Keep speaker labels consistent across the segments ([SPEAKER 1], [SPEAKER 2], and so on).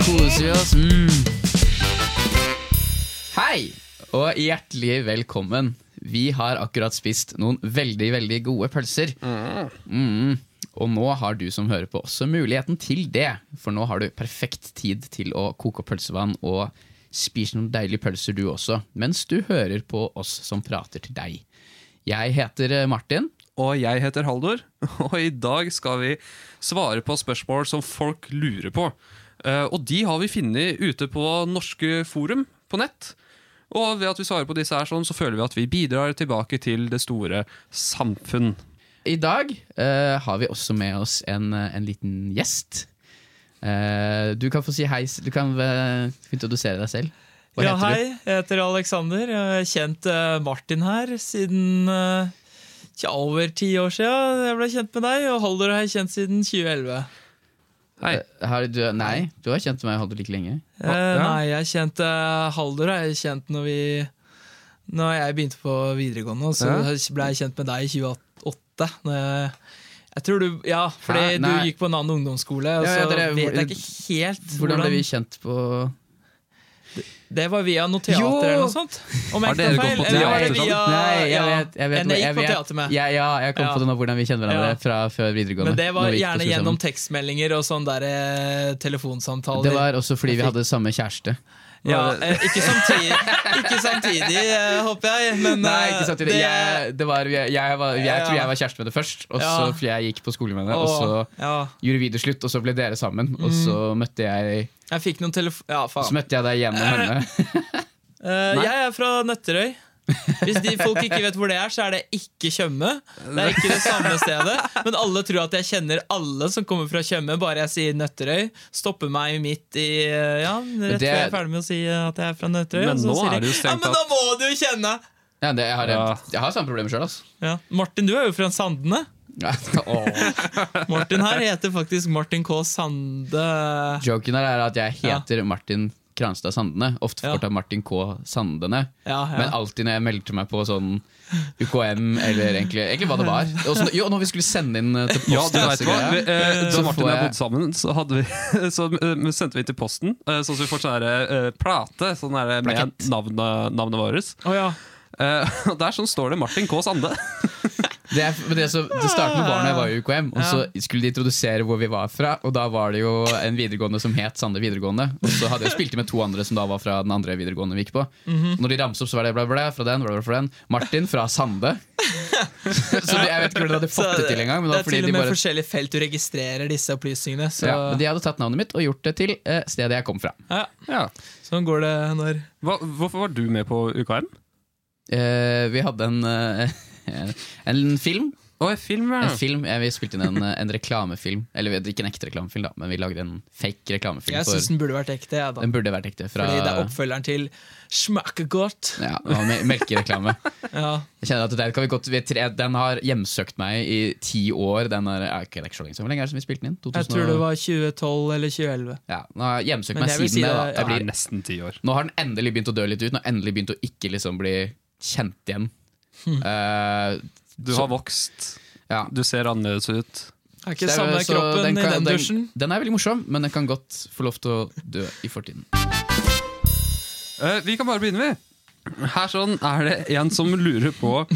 [SPEAKER 1] Cheers. Mm. Hei, og hjertelig velkommen. Vi har akkurat spist noen veldig, veldig gode pølser. Mm. Og nå har du som hører på også muligheten til det, for nå har du perfekt tid til å koke opp pølsevann og spise noen deilige pølser du også, mens du hører på oss som prater til deg. Jeg heter eh, Martin.
[SPEAKER 2] Og jeg heter Haldor, og i dag skal vi svare på spørsmål som folk lurer på. Eh, Og de har vi funnet ute på norske forum på nett. Og ved at vi svarer på disse her sånn, så føler vi at vi bidrar tilbake til det store samfunn.
[SPEAKER 1] I dag eh, har vi også med oss en, eh, en liten gjest. Eh, du kan få si hei. s- Du kan eh, introdusere deg selv. Hva
[SPEAKER 3] ja,
[SPEAKER 1] heter
[SPEAKER 3] hei. Jeg heter Alexander. Jeg har kjent eh, Martin her siden eh, tja, over ti år siden jeg ble kjent med deg. Og Haldor har jeg kjent siden 2011.
[SPEAKER 2] Hei.
[SPEAKER 1] du? Eh, Har du? Nei, du har kjent meg holdt like lenge.
[SPEAKER 3] Eh,
[SPEAKER 2] Ja.
[SPEAKER 3] Nei, jeg kjente Haldor har jeg kjent når vi Når jeg begynte på videregående. og Så ble jeg kjent med deg i 2008. Når jeg, jeg tror du Ja, fordi
[SPEAKER 1] Hæ?
[SPEAKER 3] du
[SPEAKER 1] Nei.
[SPEAKER 3] gikk på en annen ungdomsskole, og
[SPEAKER 1] Ja, ja,
[SPEAKER 3] så
[SPEAKER 1] dere-
[SPEAKER 3] vet jeg ikke helt
[SPEAKER 1] Hvordan ble vi
[SPEAKER 3] hvordan
[SPEAKER 1] kjent på
[SPEAKER 3] Det var via noe teater
[SPEAKER 1] Jo!
[SPEAKER 3] eller noe sånt? Om
[SPEAKER 2] Har
[SPEAKER 3] jeg
[SPEAKER 2] dere
[SPEAKER 3] ikke tar
[SPEAKER 2] gått
[SPEAKER 3] feil?
[SPEAKER 2] på teater
[SPEAKER 3] Eller var det
[SPEAKER 2] sammen?
[SPEAKER 3] via
[SPEAKER 1] Nei, jeg
[SPEAKER 3] ja,
[SPEAKER 1] vet, jeg vet,
[SPEAKER 3] en jeg
[SPEAKER 1] jeg
[SPEAKER 3] gikk på
[SPEAKER 1] vet-
[SPEAKER 3] teater med?
[SPEAKER 1] Ja, ja, jeg kom
[SPEAKER 3] Ja.
[SPEAKER 1] på det nå, hvordan vi kjenner hverandre
[SPEAKER 3] Ja.
[SPEAKER 1] fra før videregående.
[SPEAKER 3] Men det
[SPEAKER 1] når
[SPEAKER 3] var
[SPEAKER 1] vi gikk på
[SPEAKER 3] gjerne
[SPEAKER 1] skole sammen.
[SPEAKER 3] gjennom tekstmeldinger og sånne der, eh, telefonsamtaler.
[SPEAKER 1] Det var også fordi vi hadde samme kjæreste.
[SPEAKER 3] ja, eh, ikke, samtidig, ikke samtidig, eh, håper jeg. Men
[SPEAKER 1] Nei,
[SPEAKER 3] eh,
[SPEAKER 1] ikke sant, det, jeg, det var, jeg, jeg, var, jeg tror jeg var kjæreste med det først, og så
[SPEAKER 3] Ja.
[SPEAKER 1] fordi jeg gikk på skole med det.
[SPEAKER 3] Åh,
[SPEAKER 1] Og så
[SPEAKER 3] ja.
[SPEAKER 1] gjorde vi det slutt, og så ble dere sammen. Og
[SPEAKER 2] Mm.
[SPEAKER 1] så møtte jeg
[SPEAKER 3] Jeg fikk noen telefon... Ja,
[SPEAKER 1] Så
[SPEAKER 3] faen.
[SPEAKER 1] møtte jeg deg gjennom henne.
[SPEAKER 3] Eh, jeg er fra Nøtterøy. Hvis de folk ikke vet hvor det er, så er det ikke Tjøme. Det er ikke det samme stedet. Men alle tror at jeg kjenner alle som kommer fra Tjøme, bare jeg sier Nøtterøy. Stopper meg midt i eh, Ja, rett
[SPEAKER 1] det-
[SPEAKER 3] før jeg er ferdig med å si eh, at jeg er fra Nøtterøy.
[SPEAKER 2] Men
[SPEAKER 3] og så
[SPEAKER 2] nå
[SPEAKER 3] sier de,
[SPEAKER 2] er det jo
[SPEAKER 3] ja,
[SPEAKER 2] strengt
[SPEAKER 3] men da må du jo kjenne!
[SPEAKER 1] Ja, det, jeg, har,
[SPEAKER 2] Ja.
[SPEAKER 1] jeg har samme problem sjøl, altså.
[SPEAKER 3] Ja. Martin, du er jo fra Sandene.
[SPEAKER 1] Ja. Åh.
[SPEAKER 3] Martin her heter faktisk Martin K. Sande.
[SPEAKER 1] Joken her er at jeg heter Martin Kranstad Sandene. Ofte
[SPEAKER 3] Ja.
[SPEAKER 1] fortalt Martin K. Sandene.
[SPEAKER 3] Ja, ja.
[SPEAKER 1] Men alltid når jeg meldte meg på sånn UKM, eller egentlig, egentlig hva det var. Og så- jo, når vi skulle sende inn eh, til
[SPEAKER 2] Ja, du vet hva. Vi,
[SPEAKER 1] postkastegreia.
[SPEAKER 2] eh, da
[SPEAKER 1] Så
[SPEAKER 2] Martin og
[SPEAKER 1] får
[SPEAKER 2] jeg
[SPEAKER 1] jeg-
[SPEAKER 2] bodde sammen, så, hadde vi, så eh, sendte vi til posten, eh, sånn at vi får sånn her, eh, plate sånn her, med
[SPEAKER 1] Plakett.
[SPEAKER 2] navnet, navnet vårt.
[SPEAKER 3] Å ja.
[SPEAKER 2] Eh, og der sånn står det Martin K. Sande.
[SPEAKER 1] Det, er- men det, så, det startet med barna jeg var i UKM, og så skulle de introdusere hvor vi var fra. Og da var det jo en videregående som het Sande videregående. Og så hadde jeg spilt med to andre som da var fra den andre videregående vi gikk på.
[SPEAKER 3] Mhm.
[SPEAKER 1] Og Når de ramset opp, så var det bla, bla, bla, fra den, bla, bla, fra den. Martin fra Sande. så de, jeg vet ikke hvordan de hadde fått det til engang. Men
[SPEAKER 3] det
[SPEAKER 1] det
[SPEAKER 3] er
[SPEAKER 1] var fordi
[SPEAKER 3] til og
[SPEAKER 1] de
[SPEAKER 3] med
[SPEAKER 1] bare
[SPEAKER 3] forskjellige felt du registrerer disse opplysningene. Så,
[SPEAKER 1] ja,
[SPEAKER 3] ja,
[SPEAKER 1] men de hadde tatt navnet mitt og gjort det til eh, stedet jeg kom fra.
[SPEAKER 2] Ja.
[SPEAKER 3] Sånn går det når
[SPEAKER 2] Hva, hvorfor var du med på UKM?
[SPEAKER 1] Eh, vi hadde en, eh, en film
[SPEAKER 2] Å, en film, ja.
[SPEAKER 3] Mm.
[SPEAKER 1] En film, eh, Vi spilte inn en, eh, en reklamefilm. Eller vi- ikke en ekte reklamefilm, da men vi lagde en fake reklamefilm.
[SPEAKER 3] Jeg
[SPEAKER 1] for-
[SPEAKER 3] syns den burde vært ekte. jeg, da.
[SPEAKER 1] Den burde vært ekte. Fra,
[SPEAKER 3] Fordi det er oppfølgeren til Smakegodt.
[SPEAKER 1] ja, det var mel- melkereklame.
[SPEAKER 3] Ja.
[SPEAKER 1] Jeg kjenner at det kan vi godt, vi er tre, Den har hjemsøkt meg i ti år. Den er, ja, ok, det er ikke så lenge siden. Hvor lenge er det som vi spilte den inn? 2000
[SPEAKER 3] Jeg tror det var 2012 eller 2011.
[SPEAKER 1] ja, Den har hjemsøkt
[SPEAKER 3] Men
[SPEAKER 1] meg
[SPEAKER 3] jeg vil
[SPEAKER 1] siden
[SPEAKER 3] si
[SPEAKER 1] det. Da.
[SPEAKER 3] det-
[SPEAKER 2] Det
[SPEAKER 1] Jeg
[SPEAKER 2] er
[SPEAKER 1] blir,
[SPEAKER 2] nesten ti år.
[SPEAKER 1] nå har den endelig begynt å dø litt ut. Nå har den endelig begynt å ikke liksom bli kjent igjen.
[SPEAKER 3] Hm.
[SPEAKER 1] Eh,
[SPEAKER 2] Du har vokst,
[SPEAKER 1] ja.
[SPEAKER 2] du ser annerledes ut.
[SPEAKER 3] Er ikke
[SPEAKER 1] Det er jo-
[SPEAKER 3] samme
[SPEAKER 1] så
[SPEAKER 3] kroppen
[SPEAKER 1] den kan-
[SPEAKER 3] i den dusjen.
[SPEAKER 1] Den, den er veldig morsom, men den kan godt få lov til å dø i fortiden.
[SPEAKER 2] Eh, vi kan bare begynne, vi. Her sånn er det en som lurer på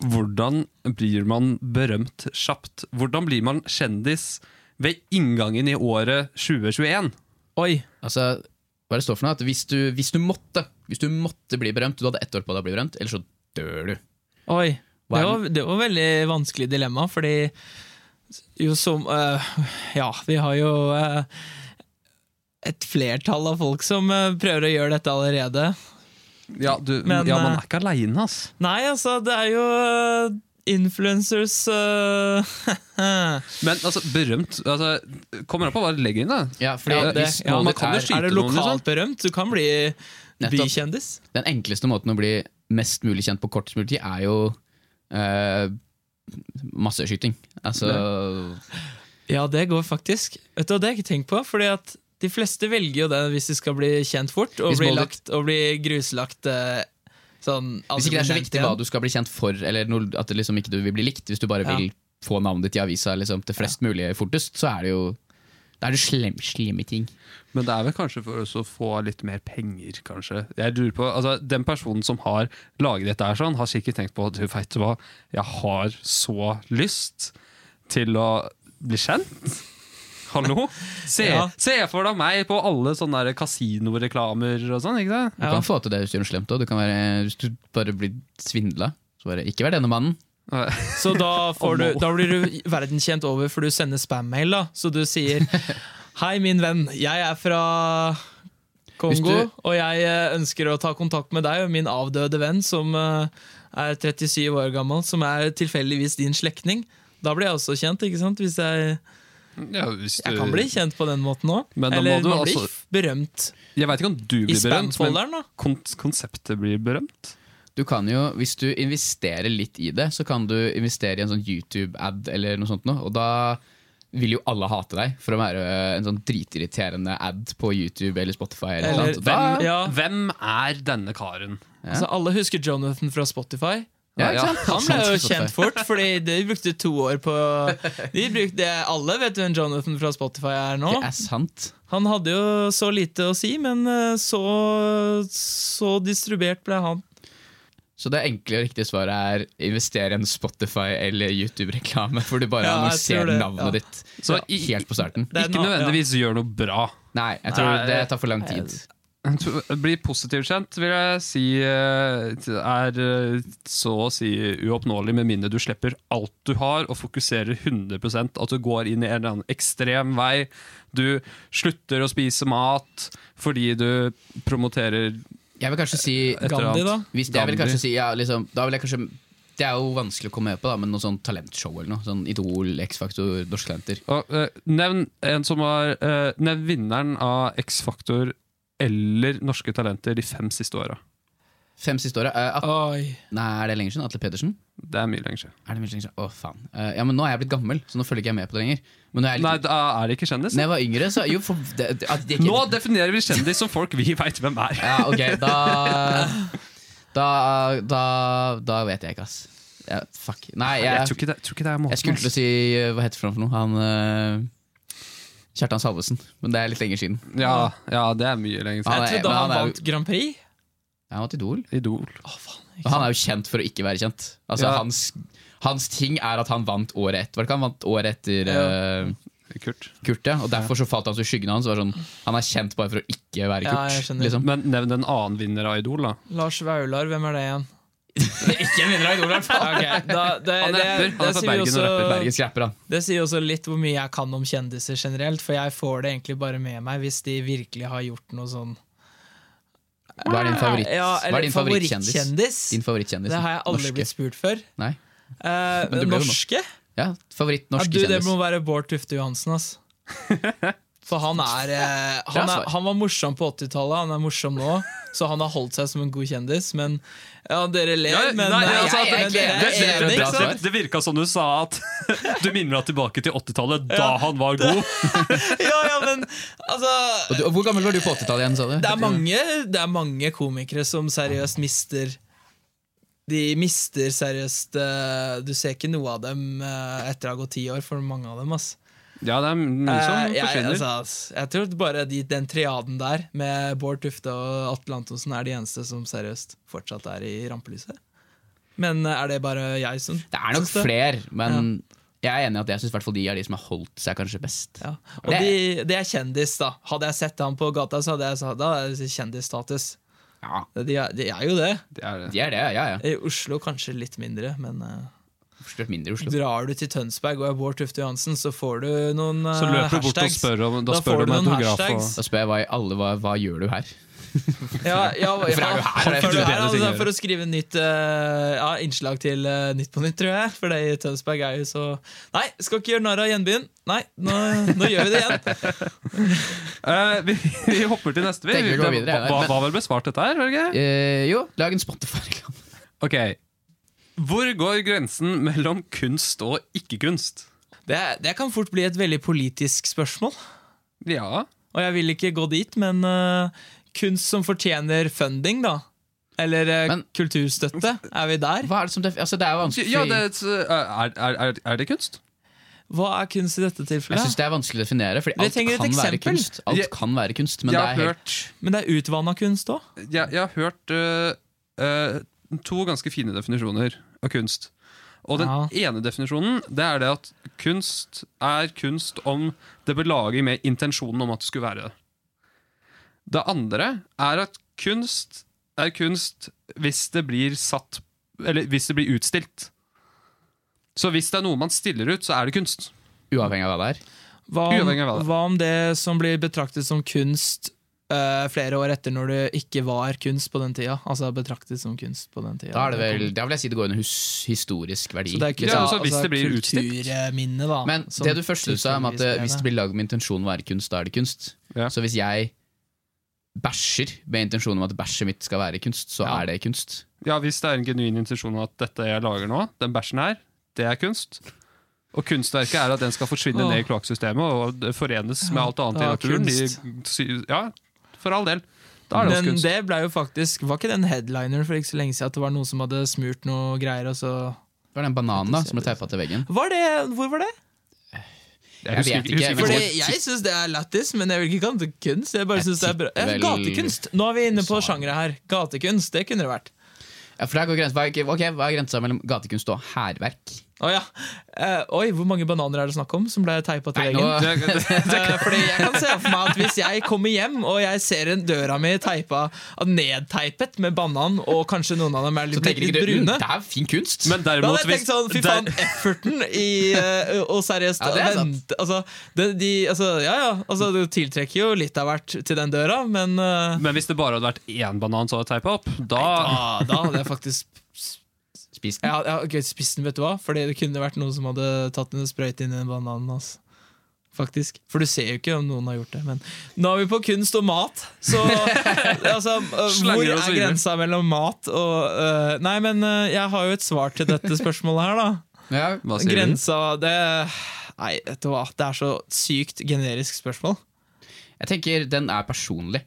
[SPEAKER 2] hvordan blir man berømt kjapt? Hvordan blir man kjendis ved inngangen i året 2021?
[SPEAKER 3] Oi.
[SPEAKER 1] Altså, hva er det står for noe? At hvis du, hvis du måtte Hvis du måtte bli berømt, du hadde ett år på deg å bli berømt, eller så dør du.
[SPEAKER 3] Oi.
[SPEAKER 1] Hva
[SPEAKER 3] Det
[SPEAKER 1] er
[SPEAKER 3] var, det var veldig vanskelig dilemma, fordi jo som eh, Ja, vi har jo eh, et flertall av folk som eh, prøver å gjøre dette allerede.
[SPEAKER 2] Ja, du,
[SPEAKER 3] Men,
[SPEAKER 2] ja man
[SPEAKER 3] eh,
[SPEAKER 2] er ikke aleine, ass.
[SPEAKER 3] Nei, altså, det er jo eh, influencers eh,
[SPEAKER 2] Men altså, berømt altså, Kommer an på hva du legger inn, da.
[SPEAKER 1] Ja, fordi
[SPEAKER 3] Ja, det-
[SPEAKER 1] hvis
[SPEAKER 3] ja,
[SPEAKER 1] målet
[SPEAKER 2] man kan jo
[SPEAKER 1] er-
[SPEAKER 2] skyte
[SPEAKER 3] Er det
[SPEAKER 2] noen, liksom.
[SPEAKER 3] lokalt berømt? Du kan bli
[SPEAKER 1] Nettopp.
[SPEAKER 3] bykjendis.
[SPEAKER 1] Den enkleste måten å bli mest mulig kjent på kortest mulig tid, er jo eh, masseskyting. Altså
[SPEAKER 3] Ja, det går faktisk. Vet du, hva, Det har jeg ikke tenkt på. Fordi at de fleste velger jo det hvis de skal bli kjent fort, og,
[SPEAKER 1] Hvis
[SPEAKER 3] bli,
[SPEAKER 1] målet-
[SPEAKER 3] lagt, og bli gruslagt eh, sånn
[SPEAKER 1] Hvis ikke det er så
[SPEAKER 3] allment
[SPEAKER 1] viktig
[SPEAKER 3] igjen.
[SPEAKER 1] hva du skal bli kjent for, eller noe, at det liksom ikke du vil bli likt, hvis du bare
[SPEAKER 3] Ja.
[SPEAKER 1] vil få navnet ditt i avisa liksom, til flest mulig fortest, så er det jo Da er det slem, slemme ting.
[SPEAKER 2] Men det er vel kanskje for oss å få litt mer penger, kanskje. Jeg lurer på, altså, Den personen som har laget dette, her sånn, har sikkert tenkt på du vet du hva, jeg har så lyst til å bli kjent. Hallo? Se,
[SPEAKER 3] Ja.
[SPEAKER 2] se for deg meg på alle sånne der kasinoreklamer og sånn. ikke det?
[SPEAKER 1] Du kan få til det hvis du gjør noe slemt òg. Du kan være, hvis du bare blir svindla. Så bare, ikke vær denne mannen.
[SPEAKER 3] Så da, får du,
[SPEAKER 2] Oh, no.
[SPEAKER 3] da blir du verdenskjent over, for du sender spam-mail. da Så du sier 'Hei, min venn. Jeg er fra Kongo,
[SPEAKER 1] Hvis du-
[SPEAKER 3] og jeg eh, ønsker å ta kontakt med deg og min avdøde venn, som eh, er 37 år gammel, som er tilfeldigvis din slektning. Da blir jeg også kjent, ikke sant? Hvis jeg,
[SPEAKER 2] Ja, hvis
[SPEAKER 3] jeg
[SPEAKER 2] du-
[SPEAKER 3] kan bli kjent på den måten òg.
[SPEAKER 2] Men da må
[SPEAKER 3] Eller
[SPEAKER 2] du
[SPEAKER 3] man blir
[SPEAKER 2] altså-
[SPEAKER 3] f- berømt
[SPEAKER 2] Jeg veit ikke om du
[SPEAKER 3] i
[SPEAKER 2] blir berømt, men
[SPEAKER 3] spam-folderen, da.
[SPEAKER 2] kon konseptet blir berømt.
[SPEAKER 1] Du kan jo, Hvis du investerer litt i det, så kan du investere i en sånn YouTube-ad, eller noe sånt noe, og da vil jo alle hate deg for å være en sånn dritirriterende ad på YouTube eller Spotify. Eller, noe
[SPEAKER 3] Eller-
[SPEAKER 1] sånt. Da,
[SPEAKER 2] Hvem,
[SPEAKER 3] Ja.
[SPEAKER 2] hvem er denne karen?
[SPEAKER 1] Ja.
[SPEAKER 3] Altså, alle husker Jonathan fra Spotify.
[SPEAKER 1] ja, ikke sant?
[SPEAKER 3] Han ble jo kjent fort, Fordi de brukte to år på de brukte, Alle vet hvem Jonathan fra Spotify er nå.
[SPEAKER 1] Det er sant.
[SPEAKER 3] Han hadde jo så lite å si, men eh, så, så distribuert ble han.
[SPEAKER 1] Så det enkle og riktige svaret er investere i en Spotify- eller YouTube-reklame, hvor du bare
[SPEAKER 3] Ja, jeg tror
[SPEAKER 1] annonserer
[SPEAKER 3] det, ja.
[SPEAKER 1] navnet ditt
[SPEAKER 2] Så i-
[SPEAKER 1] helt på starten.
[SPEAKER 3] Det er
[SPEAKER 2] Ikke
[SPEAKER 3] en-
[SPEAKER 2] nødvendigvis gjør noe bra.
[SPEAKER 1] Nei, jeg tror
[SPEAKER 2] Nei,
[SPEAKER 1] det tar for lang tid.
[SPEAKER 2] Bli positivt kjent, vil jeg si eh, er eh, så å si uoppnåelig, med mindre du slipper alt du har og fokuserer 100 At du går inn i en eller annen ekstrem vei. Du slutter å spise mat fordi du promoterer
[SPEAKER 1] Jeg vil kanskje si
[SPEAKER 2] eller
[SPEAKER 3] Eh, Gandhi, da?
[SPEAKER 2] annet.
[SPEAKER 1] hvis det, jeg vil
[SPEAKER 2] Gandhi.
[SPEAKER 1] kanskje si, ja, liksom, da vil jeg kanskje, Det er jo vanskelig å komme med på, da, men noe sånn talentshow eller noe. Sånn Idol, X-Faktor, Norske Talenter.
[SPEAKER 2] Og, eh, nevn en som har eh, Nevn vinneren av X-Faktor eller Norske Talenter de fem siste åra.
[SPEAKER 1] Fem siste åra. eh, at-
[SPEAKER 3] Oi.
[SPEAKER 1] nei, er det lenger siden? Atle Pedersen?
[SPEAKER 2] Det er mye lenger siden.
[SPEAKER 1] Er det mye lenger siden? Å, faen. Eh, ja, men nå er jeg blitt gammel, så nå følger ikke jeg med på det lenger. Men når jeg, er
[SPEAKER 2] Nei,
[SPEAKER 1] litt,
[SPEAKER 2] da er det ikke kjendis.
[SPEAKER 1] når jeg var yngre, så Jo, for det, det, at det,
[SPEAKER 2] Nå definerer vi kjendis som folk vi veit hvem er.
[SPEAKER 1] Ja, ok, da Da, da, da vet jeg ikke, ass. Ja, fuck. Nei,
[SPEAKER 2] Jeg
[SPEAKER 1] jeg,
[SPEAKER 2] tror ikke det, tror ikke det er måten.
[SPEAKER 1] jeg skulle til å
[SPEAKER 2] ass.
[SPEAKER 1] si eh, Hva heter han for noe? Han eh, Kjartan Salvesen. Men det er litt lenger siden.
[SPEAKER 2] ja, ja, det er mye lenger siden.
[SPEAKER 1] Han er-
[SPEAKER 3] Jeg
[SPEAKER 1] men
[SPEAKER 3] trodde
[SPEAKER 1] han
[SPEAKER 3] han
[SPEAKER 1] er jo-
[SPEAKER 3] vant Grand Prix.
[SPEAKER 1] Ja, Han var til Idol.
[SPEAKER 2] Idol.
[SPEAKER 3] Å, faen,
[SPEAKER 1] Og
[SPEAKER 3] ikke
[SPEAKER 1] han
[SPEAKER 3] sant?
[SPEAKER 1] er jo kjent for å ikke være kjent. Altså,
[SPEAKER 2] Ja.
[SPEAKER 1] hans, hans ting er at han vant året etter. Var det ikke han vant året etter eh,
[SPEAKER 2] Kurt.
[SPEAKER 1] Kurt, ja? Og derfor så falt han så i skyggen av han. Så var det sånn, han er kjent bare for å ikke være
[SPEAKER 3] Ja, jeg
[SPEAKER 1] Kurt.
[SPEAKER 3] skjønner.
[SPEAKER 1] liksom.
[SPEAKER 2] Men nevn en annen vinner av Idol, da.
[SPEAKER 3] Lars Vaular, hvem er det igjen? ikke en vinner av Idol, i hvert fall!
[SPEAKER 2] Han er rapper. Han er fra Bergen og rapper.
[SPEAKER 1] Bergens rapper, han.
[SPEAKER 3] Det sier også litt hvor mye jeg kan om kjendiser generelt, for jeg får det egentlig bare med meg hvis de virkelig har gjort noe sånn.
[SPEAKER 1] Hva er din favoritt-
[SPEAKER 3] Ja,
[SPEAKER 1] hva er
[SPEAKER 3] eller
[SPEAKER 1] din favorittkjendis?
[SPEAKER 3] favorittkjendis?
[SPEAKER 1] Din favorittkjendis.
[SPEAKER 3] Det har jeg aldri
[SPEAKER 1] norske.
[SPEAKER 3] blitt spurt før.
[SPEAKER 1] Nei.
[SPEAKER 3] Eh,
[SPEAKER 1] Men du ble jo
[SPEAKER 3] norske?
[SPEAKER 1] Ja, favoritt
[SPEAKER 3] Ja,
[SPEAKER 1] norske
[SPEAKER 3] du, det
[SPEAKER 1] kjendis.
[SPEAKER 3] må være Bård Tufte Johansen, ass. For han er, eh,
[SPEAKER 1] Bra
[SPEAKER 3] han,
[SPEAKER 1] svar.
[SPEAKER 3] er Han var morsom på 80-tallet, han er morsom nå. Så han har holdt seg som en god kjendis. Men ja, dere ler,
[SPEAKER 2] Ja,
[SPEAKER 3] men
[SPEAKER 2] nei,
[SPEAKER 3] eh,
[SPEAKER 2] altså,
[SPEAKER 3] jeg er
[SPEAKER 1] det-
[SPEAKER 3] egentlig
[SPEAKER 1] det- det-
[SPEAKER 3] enig,
[SPEAKER 1] bra
[SPEAKER 3] ikke sant?
[SPEAKER 1] svar.
[SPEAKER 2] det virka som du sa at du minner deg tilbake til 80-tallet, da han var god.
[SPEAKER 3] Ja, ja, men altså
[SPEAKER 1] Og du, og hvor gammel var du på 80-tallet igjen, sa du?
[SPEAKER 3] det er, mange, det er mange komikere som seriøst mister De mister seriøst eh, Du ser ikke noe av dem eh, etter å ha gått ti år, for mange av dem. ass
[SPEAKER 2] Ja, det er mye som
[SPEAKER 3] Eh, jeg,
[SPEAKER 2] forsvinner.
[SPEAKER 3] altså, ass, jeg tror bare de, den triaden der, med Bård Tufte og Atle Antonsen, er de eneste som seriøst fortsatt er i rampelyset. Men eh, er det bare jeg som
[SPEAKER 1] Det er nok
[SPEAKER 3] syns
[SPEAKER 1] flere, men jeg er enig i at jeg syns de er de som har holdt seg kanskje best.
[SPEAKER 3] Ja. Og det, de, det er kjendis, da. Hadde jeg sett ham på gata, så hadde jeg sagt da er det kjendisstatus.
[SPEAKER 1] Ja,
[SPEAKER 3] De, er- de er jo det.
[SPEAKER 2] Det er det.
[SPEAKER 1] de er det, ja ja.
[SPEAKER 3] I Oslo kanskje litt mindre, men eh,
[SPEAKER 1] Forstått mindre i Oslo.
[SPEAKER 3] drar du til Tønsberg og er Bård Tufte Johansen, så får du noen eh,
[SPEAKER 2] Så løper du bort og
[SPEAKER 3] hashtags.
[SPEAKER 2] spør om, da
[SPEAKER 3] Da
[SPEAKER 2] spør
[SPEAKER 3] får
[SPEAKER 2] du om
[SPEAKER 3] du
[SPEAKER 2] en
[SPEAKER 3] noen
[SPEAKER 2] autograf. Og,
[SPEAKER 3] hashtags.
[SPEAKER 1] Da spør jeg hva, alle hva, hva gjør du her?
[SPEAKER 3] Ja, ja, ja.
[SPEAKER 1] Hvorfor er du her?
[SPEAKER 3] Hvorfor er du
[SPEAKER 2] Det er bedre ting
[SPEAKER 3] her?
[SPEAKER 2] å
[SPEAKER 3] Altså,
[SPEAKER 2] gjøre.
[SPEAKER 3] for å skrive nytt eh, ja, innslag til eh, Nytt på nytt, tror jeg. For det i Tønsberg er jo så Nei, skal ikke gjøre narr av gjenbyen. Nei, nå, nå gjør vi det igjen.
[SPEAKER 2] Eh, vi, vi hopper til neste. Vi.
[SPEAKER 1] Tenker vi går videre,
[SPEAKER 2] Hva- Hva
[SPEAKER 1] ja, men-
[SPEAKER 2] var vel besvart dette her? var det ikke?
[SPEAKER 1] Eh, jo, lag en Spotify-reklame.
[SPEAKER 2] Ok. Hvor går grensen mellom kunst og ikke-kunst?
[SPEAKER 3] Det, det kan fort bli et veldig politisk spørsmål.
[SPEAKER 2] Ja,
[SPEAKER 3] Og jeg vil ikke gå dit, men eh, kunst som fortjener funding, da. Eller eh,
[SPEAKER 1] Men-
[SPEAKER 3] kulturstøtte. Er vi der?
[SPEAKER 1] Hva er det som def- altså, Det er jo vanskelig
[SPEAKER 2] ja det, er, et- er, er, er det kunst?
[SPEAKER 3] Hva er kunst i dette
[SPEAKER 1] Jeg
[SPEAKER 3] tilfellet?
[SPEAKER 1] syns det er vanskelig å definere, Fordi
[SPEAKER 3] Vi
[SPEAKER 1] alt
[SPEAKER 3] trenger et
[SPEAKER 1] kan være
[SPEAKER 3] eksempel.
[SPEAKER 1] kunst. Alt
[SPEAKER 2] Jeg-
[SPEAKER 1] kan være kunst men
[SPEAKER 2] jeg
[SPEAKER 1] det
[SPEAKER 2] har
[SPEAKER 1] er helt
[SPEAKER 2] hørt,
[SPEAKER 3] Men det er utvanna kunst òg.
[SPEAKER 2] jeg, jeg har hørt øh, øh, to ganske fine definisjoner av kunst. Og den ene definisjonen det er det at kunst er kunst om det ble laget med intensjonen om at det skulle være det. Det andre er at kunst er kunst hvis det blir satt Eller hvis det blir utstilt. Så hvis det er noe man stiller ut, så er det kunst.
[SPEAKER 1] uavhengig av hva det er.
[SPEAKER 3] Hva, om-
[SPEAKER 2] Uavhengig av det.
[SPEAKER 3] hva om det som blir betraktet som kunst eh, flere år etter, når det ikke var kunst på den tida? Altså betraktet som kunst på den tida.
[SPEAKER 1] Da, er det vel, da vil jeg si det går under hus historisk verdi.
[SPEAKER 3] Så det er kunst,
[SPEAKER 2] Ja,
[SPEAKER 3] ja,
[SPEAKER 2] altså, hvis det blir utstilt.
[SPEAKER 3] kulturminne, da.
[SPEAKER 1] Men
[SPEAKER 3] som
[SPEAKER 1] det du først sa om at eh,
[SPEAKER 3] kulturminne.
[SPEAKER 1] hvis det blir lagd med intensjon å være kunst, da er det kunst.
[SPEAKER 2] Ja.
[SPEAKER 1] Så hvis jeg bæsjer med intensjon om at bæsjet mitt skal være kunst, så er det kunst.
[SPEAKER 2] Ja, Hvis det er en genuin intensjon om at dette jeg lager nå, den bæsjen her, det er kunst. Og kunstverket er at den skal forsvinne
[SPEAKER 3] Åh.
[SPEAKER 2] ned i kloakksystemet og det forenes med alt annet i
[SPEAKER 3] Ja,
[SPEAKER 2] naturen.
[SPEAKER 3] kunst.
[SPEAKER 2] I, sy- ja, for all del. Da er det også
[SPEAKER 3] Men
[SPEAKER 2] kunst.
[SPEAKER 3] det ble jo faktisk Var ikke den headliner for ikke så lenge siden at det var noen som hadde smurt noe greier, og så
[SPEAKER 1] Det var den bananen da, som ble teipa til veggen.
[SPEAKER 3] Var det Hvor var det?
[SPEAKER 1] Jeg
[SPEAKER 2] husker
[SPEAKER 1] vet ikke,
[SPEAKER 2] husker
[SPEAKER 1] men-
[SPEAKER 3] Fordi
[SPEAKER 2] hvor-
[SPEAKER 3] jeg syns det er lættis, men jeg vil ikke kalle det kunst. Jeg bare
[SPEAKER 1] Jeg
[SPEAKER 3] synes det er bra
[SPEAKER 1] tipper
[SPEAKER 3] Eh,
[SPEAKER 1] vel-
[SPEAKER 3] Gatekunst! Nå er vi inne på sjangre her. Gatekunst, det kunne det vært.
[SPEAKER 1] Ja, for der går grensa, hva, er- ok, hva er grensa mellom gatekunst og hærverk?
[SPEAKER 3] Å ja. Eh, oi, hvor mange bananer er det snakk om som ble teipa til
[SPEAKER 1] Nei,
[SPEAKER 3] veggen?
[SPEAKER 1] nå-
[SPEAKER 2] Det- det-
[SPEAKER 3] Eh, Fordi jeg kan se for meg at Hvis jeg kommer hjem og jeg ser en døra mi teipa, nedteipet med banan, og kanskje noen av dem er
[SPEAKER 1] Så
[SPEAKER 3] litt,
[SPEAKER 1] tenker ikke
[SPEAKER 3] litt
[SPEAKER 1] du mm,
[SPEAKER 3] brune
[SPEAKER 1] det er fin kunst?
[SPEAKER 2] Men
[SPEAKER 3] Da
[SPEAKER 2] derimot
[SPEAKER 3] hadde jeg tenkt sånn, fy
[SPEAKER 2] der-
[SPEAKER 3] faen, efforten i eh, Og seriøst,
[SPEAKER 1] Ja, det er sant.
[SPEAKER 3] vent altså, det, de, altså, ja, ja, altså, det tiltrekker jo litt av hvert til den døra, men eh,
[SPEAKER 2] Men hvis det bare hadde vært én banan som hadde teipa opp, da
[SPEAKER 3] ah, Da hadde jeg faktisk
[SPEAKER 1] Spis den.
[SPEAKER 3] Jeg hadde, jeg hadde gøy spissen, vet du hva? Fordi det kunne vært noen som hadde tatt en sprøyte inn i den bananen hans. Faktisk. For du ser jo ikke om noen har gjort det. Men nå er vi på kunst og mat, så altså, eh, Hvor
[SPEAKER 2] Slanger og så
[SPEAKER 3] er
[SPEAKER 2] videre.
[SPEAKER 3] grensa mellom mat og eh, Nei, men eh, jeg har jo et svar til dette spørsmålet her, da.
[SPEAKER 1] Ja,
[SPEAKER 2] Hva sier du?
[SPEAKER 3] Grensa det Nei, vet du hva. Det er så sykt generisk spørsmål.
[SPEAKER 1] jeg tenker den er personlig.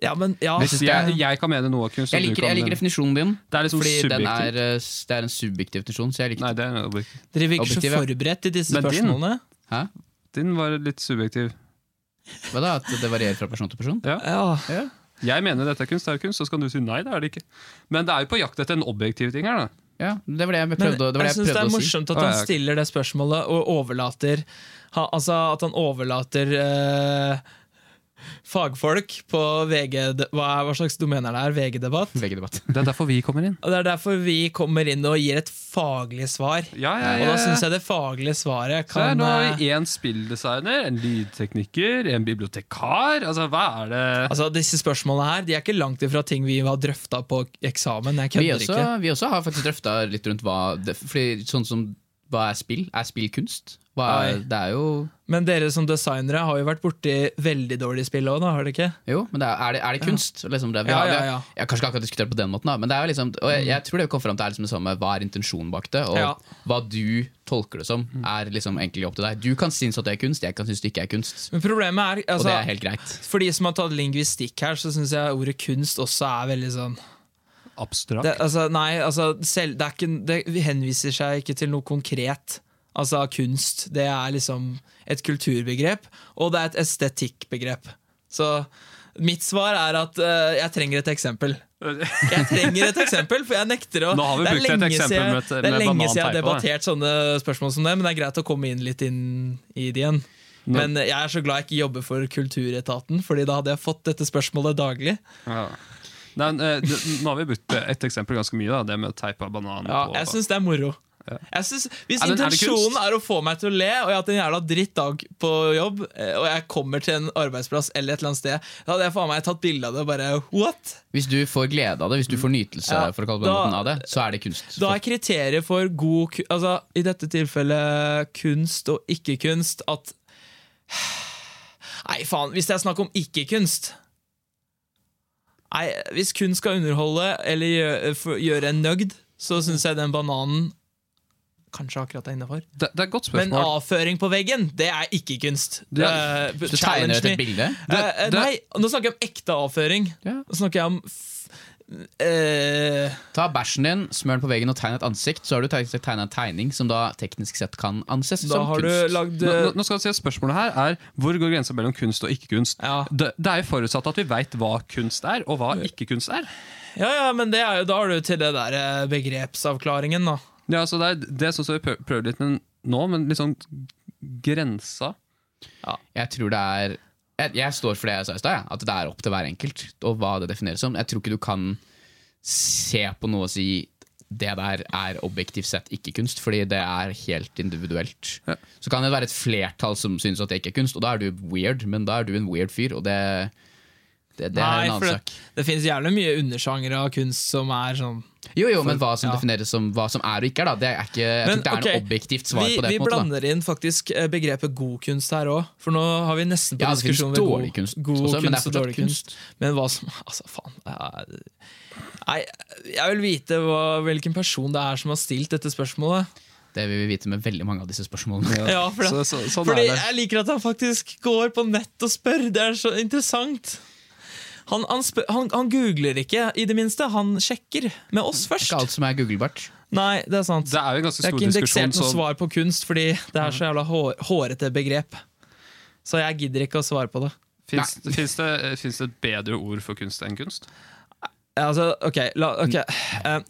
[SPEAKER 3] Ja, men ja,
[SPEAKER 1] Hvis
[SPEAKER 2] Hvis jeg, jeg kan mene noe av kunst, og
[SPEAKER 1] Jeg
[SPEAKER 2] du
[SPEAKER 1] liker,
[SPEAKER 2] kan
[SPEAKER 1] jeg
[SPEAKER 3] eh,
[SPEAKER 1] liker
[SPEAKER 2] mene-
[SPEAKER 1] definisjonen din,
[SPEAKER 2] Det er liksom
[SPEAKER 1] fordi den er,
[SPEAKER 2] subjektivt.
[SPEAKER 1] eh, s- det er en subjektiv definisjon. Så jeg liker
[SPEAKER 2] Nei, det er en øyeblikk.
[SPEAKER 3] dere virker så
[SPEAKER 1] objektiv, ja.
[SPEAKER 3] forberedt til disse
[SPEAKER 2] Men din?
[SPEAKER 3] spørsmålene.
[SPEAKER 2] Din var litt subjektiv.
[SPEAKER 1] Hva da, at det varierer fra person til person.
[SPEAKER 3] Ja,
[SPEAKER 2] Jeg mener dette er kunst, det er kunst, så skal du si nei, det er det ikke. Men det er jo på jakt etter en objektiv ting her, da.
[SPEAKER 1] Ja, Det var det jeg
[SPEAKER 3] Men
[SPEAKER 1] prøvde, å- det var det
[SPEAKER 3] jeg
[SPEAKER 1] jeg
[SPEAKER 3] syns det
[SPEAKER 1] prøvde
[SPEAKER 3] er
[SPEAKER 1] å si.
[SPEAKER 3] morsomt at
[SPEAKER 2] Å,
[SPEAKER 3] han
[SPEAKER 2] ja, ok.
[SPEAKER 3] stiller det spørsmålet og overlater ha, Altså at han overlater eh, fagfolk på VG de- hva, er, hva slags domener det er? VG-debatt?
[SPEAKER 1] Veggedebatt.
[SPEAKER 2] Det er derfor vi kommer inn.
[SPEAKER 3] Og Det er derfor vi kommer inn og gir et faglig svar.
[SPEAKER 2] Ja, ja,
[SPEAKER 3] Og
[SPEAKER 2] ja.
[SPEAKER 3] da syns jeg det faglige svaret
[SPEAKER 2] Så her,
[SPEAKER 3] kan
[SPEAKER 2] nå har
[SPEAKER 3] eh,
[SPEAKER 2] vi én spilldesigner, en lydtekniker, en bibliotekar. Altså, hva er det
[SPEAKER 3] Altså Disse spørsmålene her De er ikke langt ifra ting vi har drøfta på eksamen. Jeg
[SPEAKER 1] Vi
[SPEAKER 3] kødder
[SPEAKER 1] også,
[SPEAKER 3] ikke.
[SPEAKER 1] vi også har faktisk drøfta litt rundt hva det, Fordi sånn som hva er spill? Er spill kunst? Hva er,
[SPEAKER 3] Nei.
[SPEAKER 1] det er jo
[SPEAKER 3] Men dere som designere har jo vært borti veldig dårlige spill òg, har dere ikke?
[SPEAKER 1] Jo, men det er, er, det, er det kunst? Liksom det, vi
[SPEAKER 3] Ja,
[SPEAKER 1] har, vi
[SPEAKER 3] ja,
[SPEAKER 1] har-
[SPEAKER 3] ja. Mm.
[SPEAKER 1] Jeg har kanskje ikke akkurat diskutert på den måten, da, men det er jo liksom, og jeg, jeg tror det kom fram til er liksom det samme hva er intensjonen bak det, og
[SPEAKER 3] Ja. Mm.
[SPEAKER 1] hva du tolker det som, er liksom egentlig opp til deg. Du kan synes at det er kunst, jeg kan synes det ikke er kunst.
[SPEAKER 3] Men problemet er
[SPEAKER 1] Og
[SPEAKER 3] altså,
[SPEAKER 1] det er helt greit.
[SPEAKER 3] For de som har tatt lingvistikk her, så syns jeg ordet kunst også er veldig sånn
[SPEAKER 2] abstrakt?
[SPEAKER 3] det, altså, Nei, altså, selv, det, er ikke, det henviser seg ikke til noe konkret. Altså kunst. Det er liksom et kulturbegrep, og det er et estetikkbegrep. Så mitt svar er at eh, jeg trenger et eksempel. Jeg trenger et eksempel, for jeg nekter å
[SPEAKER 2] Nå har vi
[SPEAKER 3] Det er
[SPEAKER 2] brukt et
[SPEAKER 3] lenge
[SPEAKER 2] eksempel
[SPEAKER 3] siden-
[SPEAKER 2] med et-
[SPEAKER 3] Det
[SPEAKER 2] med
[SPEAKER 3] er lenge siden jeg
[SPEAKER 2] bananteipa,
[SPEAKER 3] har
[SPEAKER 2] da.
[SPEAKER 3] debattert sånne spørsmål som det, men det er greit å komme inn litt inn i det igjen. Men jeg er så glad jeg ikke jobber for Kulturetaten, Fordi da hadde jeg fått dette spørsmålet daglig.
[SPEAKER 2] Ja. Nei, men, eh, det, nå har vi brukt et eksempel ganske mye, da, det med teip av banan
[SPEAKER 3] Ja,
[SPEAKER 2] på
[SPEAKER 3] jeg syns det er moro. Jeg synes, hvis
[SPEAKER 2] Ja, men er det
[SPEAKER 3] intensjonen
[SPEAKER 2] kunst?
[SPEAKER 3] er å få meg til å le, og jeg har hatt en jævla drittdag på jobb, eh, og jeg kommer til en arbeidsplass eller et eller annet sted, da hadde jeg faen meg tatt bilde av det og bare what?
[SPEAKER 1] Hvis du får glede av det, hvis du får nytelse
[SPEAKER 3] Ja,
[SPEAKER 1] for å kalle det på den
[SPEAKER 3] da-
[SPEAKER 1] måten av det, så er det kunst.
[SPEAKER 3] Da er kriteriet for god ku- altså, I dette tilfellet kunst og ikke-kunst at Nei, faen, hvis det er snakk om ikke-kunst Nei, Hvis kunst skal underholde eller gjø- eh, for- gjøre en nøgd, så syns jeg den bananen kanskje akkurat er innafor.
[SPEAKER 2] Det, det er et godt
[SPEAKER 3] Men
[SPEAKER 2] spørsmål.
[SPEAKER 3] avføring på veggen, det er ikke-kunst.
[SPEAKER 2] Du-
[SPEAKER 1] du tegner et bilde?
[SPEAKER 2] Du-
[SPEAKER 3] Eh, eh,
[SPEAKER 2] du-
[SPEAKER 3] nei, nå snakker jeg om ekte avføring.
[SPEAKER 1] Ja.
[SPEAKER 3] Nå snakker jeg om f Eh,
[SPEAKER 1] Ta bæsjen din, smør den på veggen og tegn et ansikt. Så har du tegna en tegning som da teknisk sett kan anses
[SPEAKER 3] da
[SPEAKER 1] som
[SPEAKER 3] har du
[SPEAKER 1] kunst.
[SPEAKER 3] lagd eh,
[SPEAKER 2] Nå, nå- nå skal jeg si at Spørsmålet her er hvor går grensa mellom kunst og ikke-kunst?
[SPEAKER 3] Ja.
[SPEAKER 2] Det, det er jo forutsatt at vi veit hva kunst er, og hva ikke-kunst er.
[SPEAKER 3] Ja, ja, men det er jo, da er du til det der eh, begrepsavklaringen, da.
[SPEAKER 2] Ja, så Det er det er sånn som vi prø- prøver litt med nå, men liksom grensa
[SPEAKER 1] Jeg tror det er jeg, jeg står for det jeg sa i stad, jeg, at det er opp til hver enkelt og hva det defineres som. Jeg tror ikke du kan se på noe og si det der er objektivt sett ikke kunst, fordi det er helt individuelt.
[SPEAKER 2] Ja.
[SPEAKER 1] Så kan det være et flertall som syns at det ikke er kunst, og da er du weird, men da er du en weird fyr, og det, det, det er
[SPEAKER 3] Nei,
[SPEAKER 1] en
[SPEAKER 3] for
[SPEAKER 1] annen
[SPEAKER 3] det,
[SPEAKER 1] sak.
[SPEAKER 3] det finnes jævlig mye undersjangere av kunst som er sånn
[SPEAKER 1] Jo, jo, men hva som
[SPEAKER 3] ja.
[SPEAKER 1] defineres som hva som er og ikke er, da, det er ikke, jeg
[SPEAKER 3] Men,
[SPEAKER 1] tror ikke det er
[SPEAKER 3] ok,
[SPEAKER 1] noe objektivt svar
[SPEAKER 3] vi,
[SPEAKER 1] på det.
[SPEAKER 3] Vi
[SPEAKER 1] på en måte, da.
[SPEAKER 3] blander inn faktisk eh, begrepet god kunst her òg, for nå har vi nesten på
[SPEAKER 1] Ja, det finnes
[SPEAKER 3] diskusjon god,
[SPEAKER 1] dårlig kunst
[SPEAKER 3] god
[SPEAKER 1] også, men det er
[SPEAKER 3] kunst og
[SPEAKER 1] fortsatt
[SPEAKER 3] dårlig kunst. Men hva som Altså, faen. det er- Nei, jeg vil vite hva, hvilken person det er som har stilt dette spørsmålet.
[SPEAKER 1] Det vil vi vite med veldig mange av disse spørsmålene.
[SPEAKER 3] Ja, for det-
[SPEAKER 2] så, så, Sånn
[SPEAKER 3] Fordi
[SPEAKER 2] er det.
[SPEAKER 3] jeg liker at han faktisk går på nett og spør. Det er så interessant. Han, han, spør, han, han googler ikke, i det minste. Han sjekker med oss først.
[SPEAKER 1] Ikke alt som er googlebart.
[SPEAKER 3] Nei, det er sant.
[SPEAKER 2] Det er jo en ganske
[SPEAKER 3] Jeg
[SPEAKER 2] stor
[SPEAKER 3] har ikke indeksert
[SPEAKER 2] diskusjon.
[SPEAKER 3] noe
[SPEAKER 2] Så,
[SPEAKER 3] svar på kunst, fordi det er så jævla hår, hårete begrep. Så jeg gidder ikke å svare på det.
[SPEAKER 2] Fins fins det, finnes det et bedre ord for kunst enn kunst?
[SPEAKER 3] Altså, ok, la, ok eh,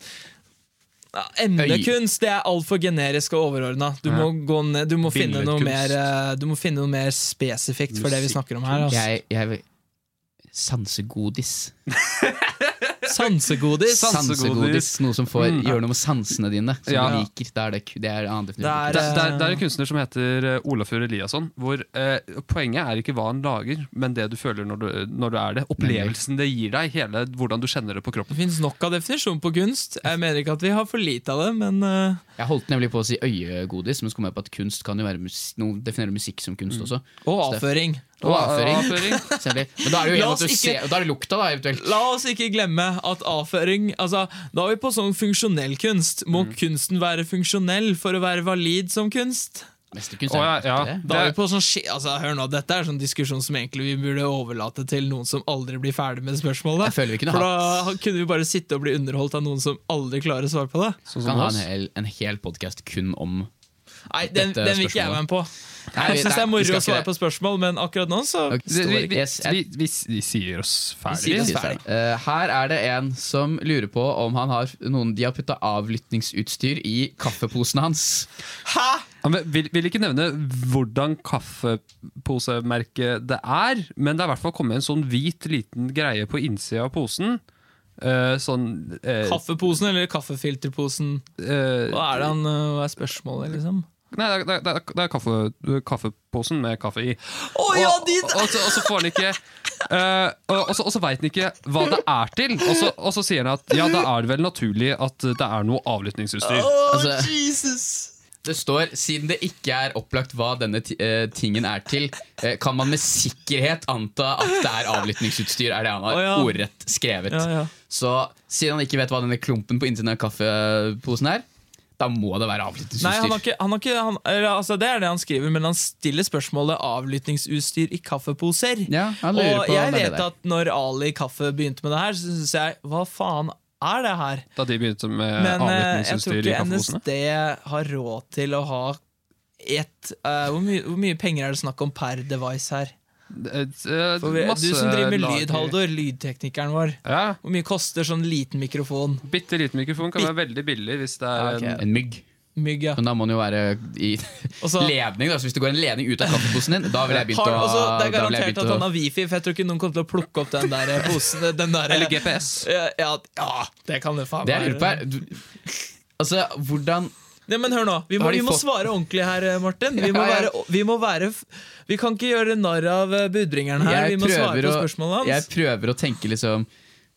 [SPEAKER 3] Emnekunst det er altfor generisk og overordna. Du, må gå ned- du, må finne noe
[SPEAKER 2] Billedkunst.
[SPEAKER 3] mer, eh, du må finne noe mer spesifikt for det vi snakker om her. Altså.
[SPEAKER 1] Jeg, jeg vil Sansegodis.
[SPEAKER 3] Sansegodis.
[SPEAKER 2] Sansegodis.
[SPEAKER 1] Sansegodis. Noe som får
[SPEAKER 2] Mm.
[SPEAKER 1] gjør noe med sansene dine. Som
[SPEAKER 2] Ja.
[SPEAKER 1] du liker. Det er det, ku- det er en annen
[SPEAKER 3] Det er-
[SPEAKER 1] definisjon.
[SPEAKER 2] Det, det, er, det er en kunstner som heter eh, Olafur Eliasson. Hvor eh, Poenget er ikke hva han lager, men det du føler når du, når du er det. Opplevelsen det gir deg, hele hvordan du kjenner det på kroppen.
[SPEAKER 3] Det finnes nok av definisjon på kunst. Jeg mener ikke at vi har for lite av det, men eh,
[SPEAKER 1] Jeg holdt nemlig på å si øyegodis, men så kom jeg på at kunst kan jo være mus noen definerer musikk som
[SPEAKER 2] Mm.
[SPEAKER 1] kunst også.
[SPEAKER 3] Og
[SPEAKER 1] Så det-
[SPEAKER 3] avføring.
[SPEAKER 1] Og avføring.
[SPEAKER 2] Avføring.
[SPEAKER 1] Selvfølgelig. Men da er det jo
[SPEAKER 3] La
[SPEAKER 1] igjen
[SPEAKER 3] oss
[SPEAKER 1] at du
[SPEAKER 3] ikke-
[SPEAKER 1] ser, og da er det lukta, da, eventuelt.
[SPEAKER 3] La oss ikke glemme at avføring altså, Da er vi på sånn funksjonell kunst. Må kunsten være funksjonell for å være valid som kunst?
[SPEAKER 1] Mesterkunst
[SPEAKER 2] Å,
[SPEAKER 1] er
[SPEAKER 2] ja,
[SPEAKER 1] jo
[SPEAKER 2] ja.
[SPEAKER 1] ikke det.
[SPEAKER 3] Da er
[SPEAKER 2] Det-
[SPEAKER 3] vi på sånn skje, altså, hør nå, Dette er en sånn diskusjon som egentlig vi burde overlate til noen som aldri blir ferdig med spørsmålet.
[SPEAKER 1] Jeg føler vi kunne
[SPEAKER 3] For
[SPEAKER 1] hatt-
[SPEAKER 3] da kunne vi bare sitte og bli underholdt av noen som aldri klarer å svare på det.
[SPEAKER 2] Sånn som
[SPEAKER 1] Kan ha
[SPEAKER 2] oss.
[SPEAKER 1] en hel, en hel podkast kun om
[SPEAKER 3] Nei, Den,
[SPEAKER 1] Dette
[SPEAKER 3] den vil ikke jeg
[SPEAKER 1] spørsmålet.
[SPEAKER 3] være med på.
[SPEAKER 1] Nei, vi-
[SPEAKER 3] Jeg syns det
[SPEAKER 1] nei,
[SPEAKER 3] er
[SPEAKER 1] vi
[SPEAKER 3] moro
[SPEAKER 1] skal
[SPEAKER 3] å
[SPEAKER 1] ikke
[SPEAKER 3] svare
[SPEAKER 1] det.
[SPEAKER 3] på spørsmål, men akkurat nå så
[SPEAKER 1] Ok,
[SPEAKER 2] Vi,
[SPEAKER 1] står
[SPEAKER 2] vi,
[SPEAKER 1] ikke.
[SPEAKER 2] vi,
[SPEAKER 1] Yes, jeg-
[SPEAKER 2] vi, vi, vi sier oss
[SPEAKER 3] Vi sier
[SPEAKER 2] ferdig.
[SPEAKER 3] oss
[SPEAKER 1] Yes,
[SPEAKER 3] ferdig.
[SPEAKER 1] eh, her er det en som lurer på om han har noen de har putta avlyttingsutstyr i kaffeposen hans.
[SPEAKER 3] Hæ?!
[SPEAKER 2] Ja, men Vil, vil ikke nevne hvordan kaffeposemerket det er, men det er i hvert fall kommet en sånn hvit liten greie på innsida av posen. Eh, sånn eh,
[SPEAKER 3] Kaffeposen eller kaffefilterposen?
[SPEAKER 2] eh,
[SPEAKER 3] Hva er det han, øh, hva er spørsmålet, liksom?
[SPEAKER 2] Nei, det er, det er, det er kaffe, kaffeposen med kaffe i.
[SPEAKER 3] Å
[SPEAKER 2] og, og, så, og så får han ikke eh, og, og så, og så veit han ikke hva det er til. Og så, og så sier han at ja, da er det vel naturlig at det er noe avlyttingsutstyr.
[SPEAKER 1] Altså-
[SPEAKER 3] Jesus!
[SPEAKER 1] Det står siden det ikke er opplagt hva denne ti- eh, tingen er til, eh, kan man med sikkerhet anta at det er avlyttingsutstyr, er det han har
[SPEAKER 3] Å, ja.
[SPEAKER 1] ordrett skrevet.
[SPEAKER 3] Ja, ja.
[SPEAKER 1] Så siden han ikke vet hva denne klumpen på innsiden av kaffeposen er, da må det være
[SPEAKER 3] Nei, han har
[SPEAKER 1] avlyttingsutstyr.
[SPEAKER 3] ikke, han har ikke han, eller, altså, Det er det han skriver, men han stiller spørsmålet avlyttingsutstyr i kaffeposer.
[SPEAKER 1] Ja, han
[SPEAKER 3] og
[SPEAKER 1] lurer på
[SPEAKER 3] jeg
[SPEAKER 1] hva det er
[SPEAKER 3] vet
[SPEAKER 1] der.
[SPEAKER 3] at når Ali Kaffe begynte med det her, så syns jeg hva faen er det her?
[SPEAKER 2] Da de begynte med
[SPEAKER 3] Men eh, jeg tror
[SPEAKER 2] avlyttingsutstyr i
[SPEAKER 3] ikke
[SPEAKER 2] kaffeposene.
[SPEAKER 3] NSD har råd til å ha et eh, hvor, mye- hvor mye penger er det snakk om per device her?
[SPEAKER 2] Eh, eh,
[SPEAKER 3] For vi, du
[SPEAKER 2] masse
[SPEAKER 3] som driver med
[SPEAKER 2] lager-
[SPEAKER 3] lyd, Haldor, lydteknikeren vår.
[SPEAKER 2] Ja,
[SPEAKER 3] Hvor mye koster sånn liten mikrofon?
[SPEAKER 2] Bitte liten mikrofon kan være veldig billig hvis det er
[SPEAKER 3] Ja, ok.
[SPEAKER 2] en
[SPEAKER 1] En mygg.
[SPEAKER 3] Mygg, ja.
[SPEAKER 1] Men da må den jo være i
[SPEAKER 3] Og så-
[SPEAKER 1] ledning. Da. Så hvis det går en ledning ut av kaffeposen din, da ville jeg begynt
[SPEAKER 3] Har,
[SPEAKER 1] å
[SPEAKER 3] altså, det er
[SPEAKER 1] da ville jeg
[SPEAKER 3] garantert
[SPEAKER 1] begynt
[SPEAKER 3] at
[SPEAKER 1] å-
[SPEAKER 3] han har wifi, for jeg tror ikke noen kommer til å plukke opp den der eh, posen. Den der, eh,
[SPEAKER 2] Eller GPS.
[SPEAKER 3] ja, ja, ja, det kan det faen
[SPEAKER 1] Det jeg lurer på, er du- Altså, hvordan
[SPEAKER 3] Nei, men hør nå, vi må,
[SPEAKER 1] Har de
[SPEAKER 3] vi må
[SPEAKER 1] fått-
[SPEAKER 3] svare ordentlig her, eh, Martin. Vi må
[SPEAKER 1] Ja, ja.
[SPEAKER 3] være, vi må være f- Vi kan ikke gjøre narr av eh, budbringeren her.
[SPEAKER 1] Jeg
[SPEAKER 3] Vi må svare
[SPEAKER 1] prøver
[SPEAKER 3] på
[SPEAKER 1] å-
[SPEAKER 3] spørsmålet
[SPEAKER 1] Jeg
[SPEAKER 3] hans.
[SPEAKER 1] prøver å tenke liksom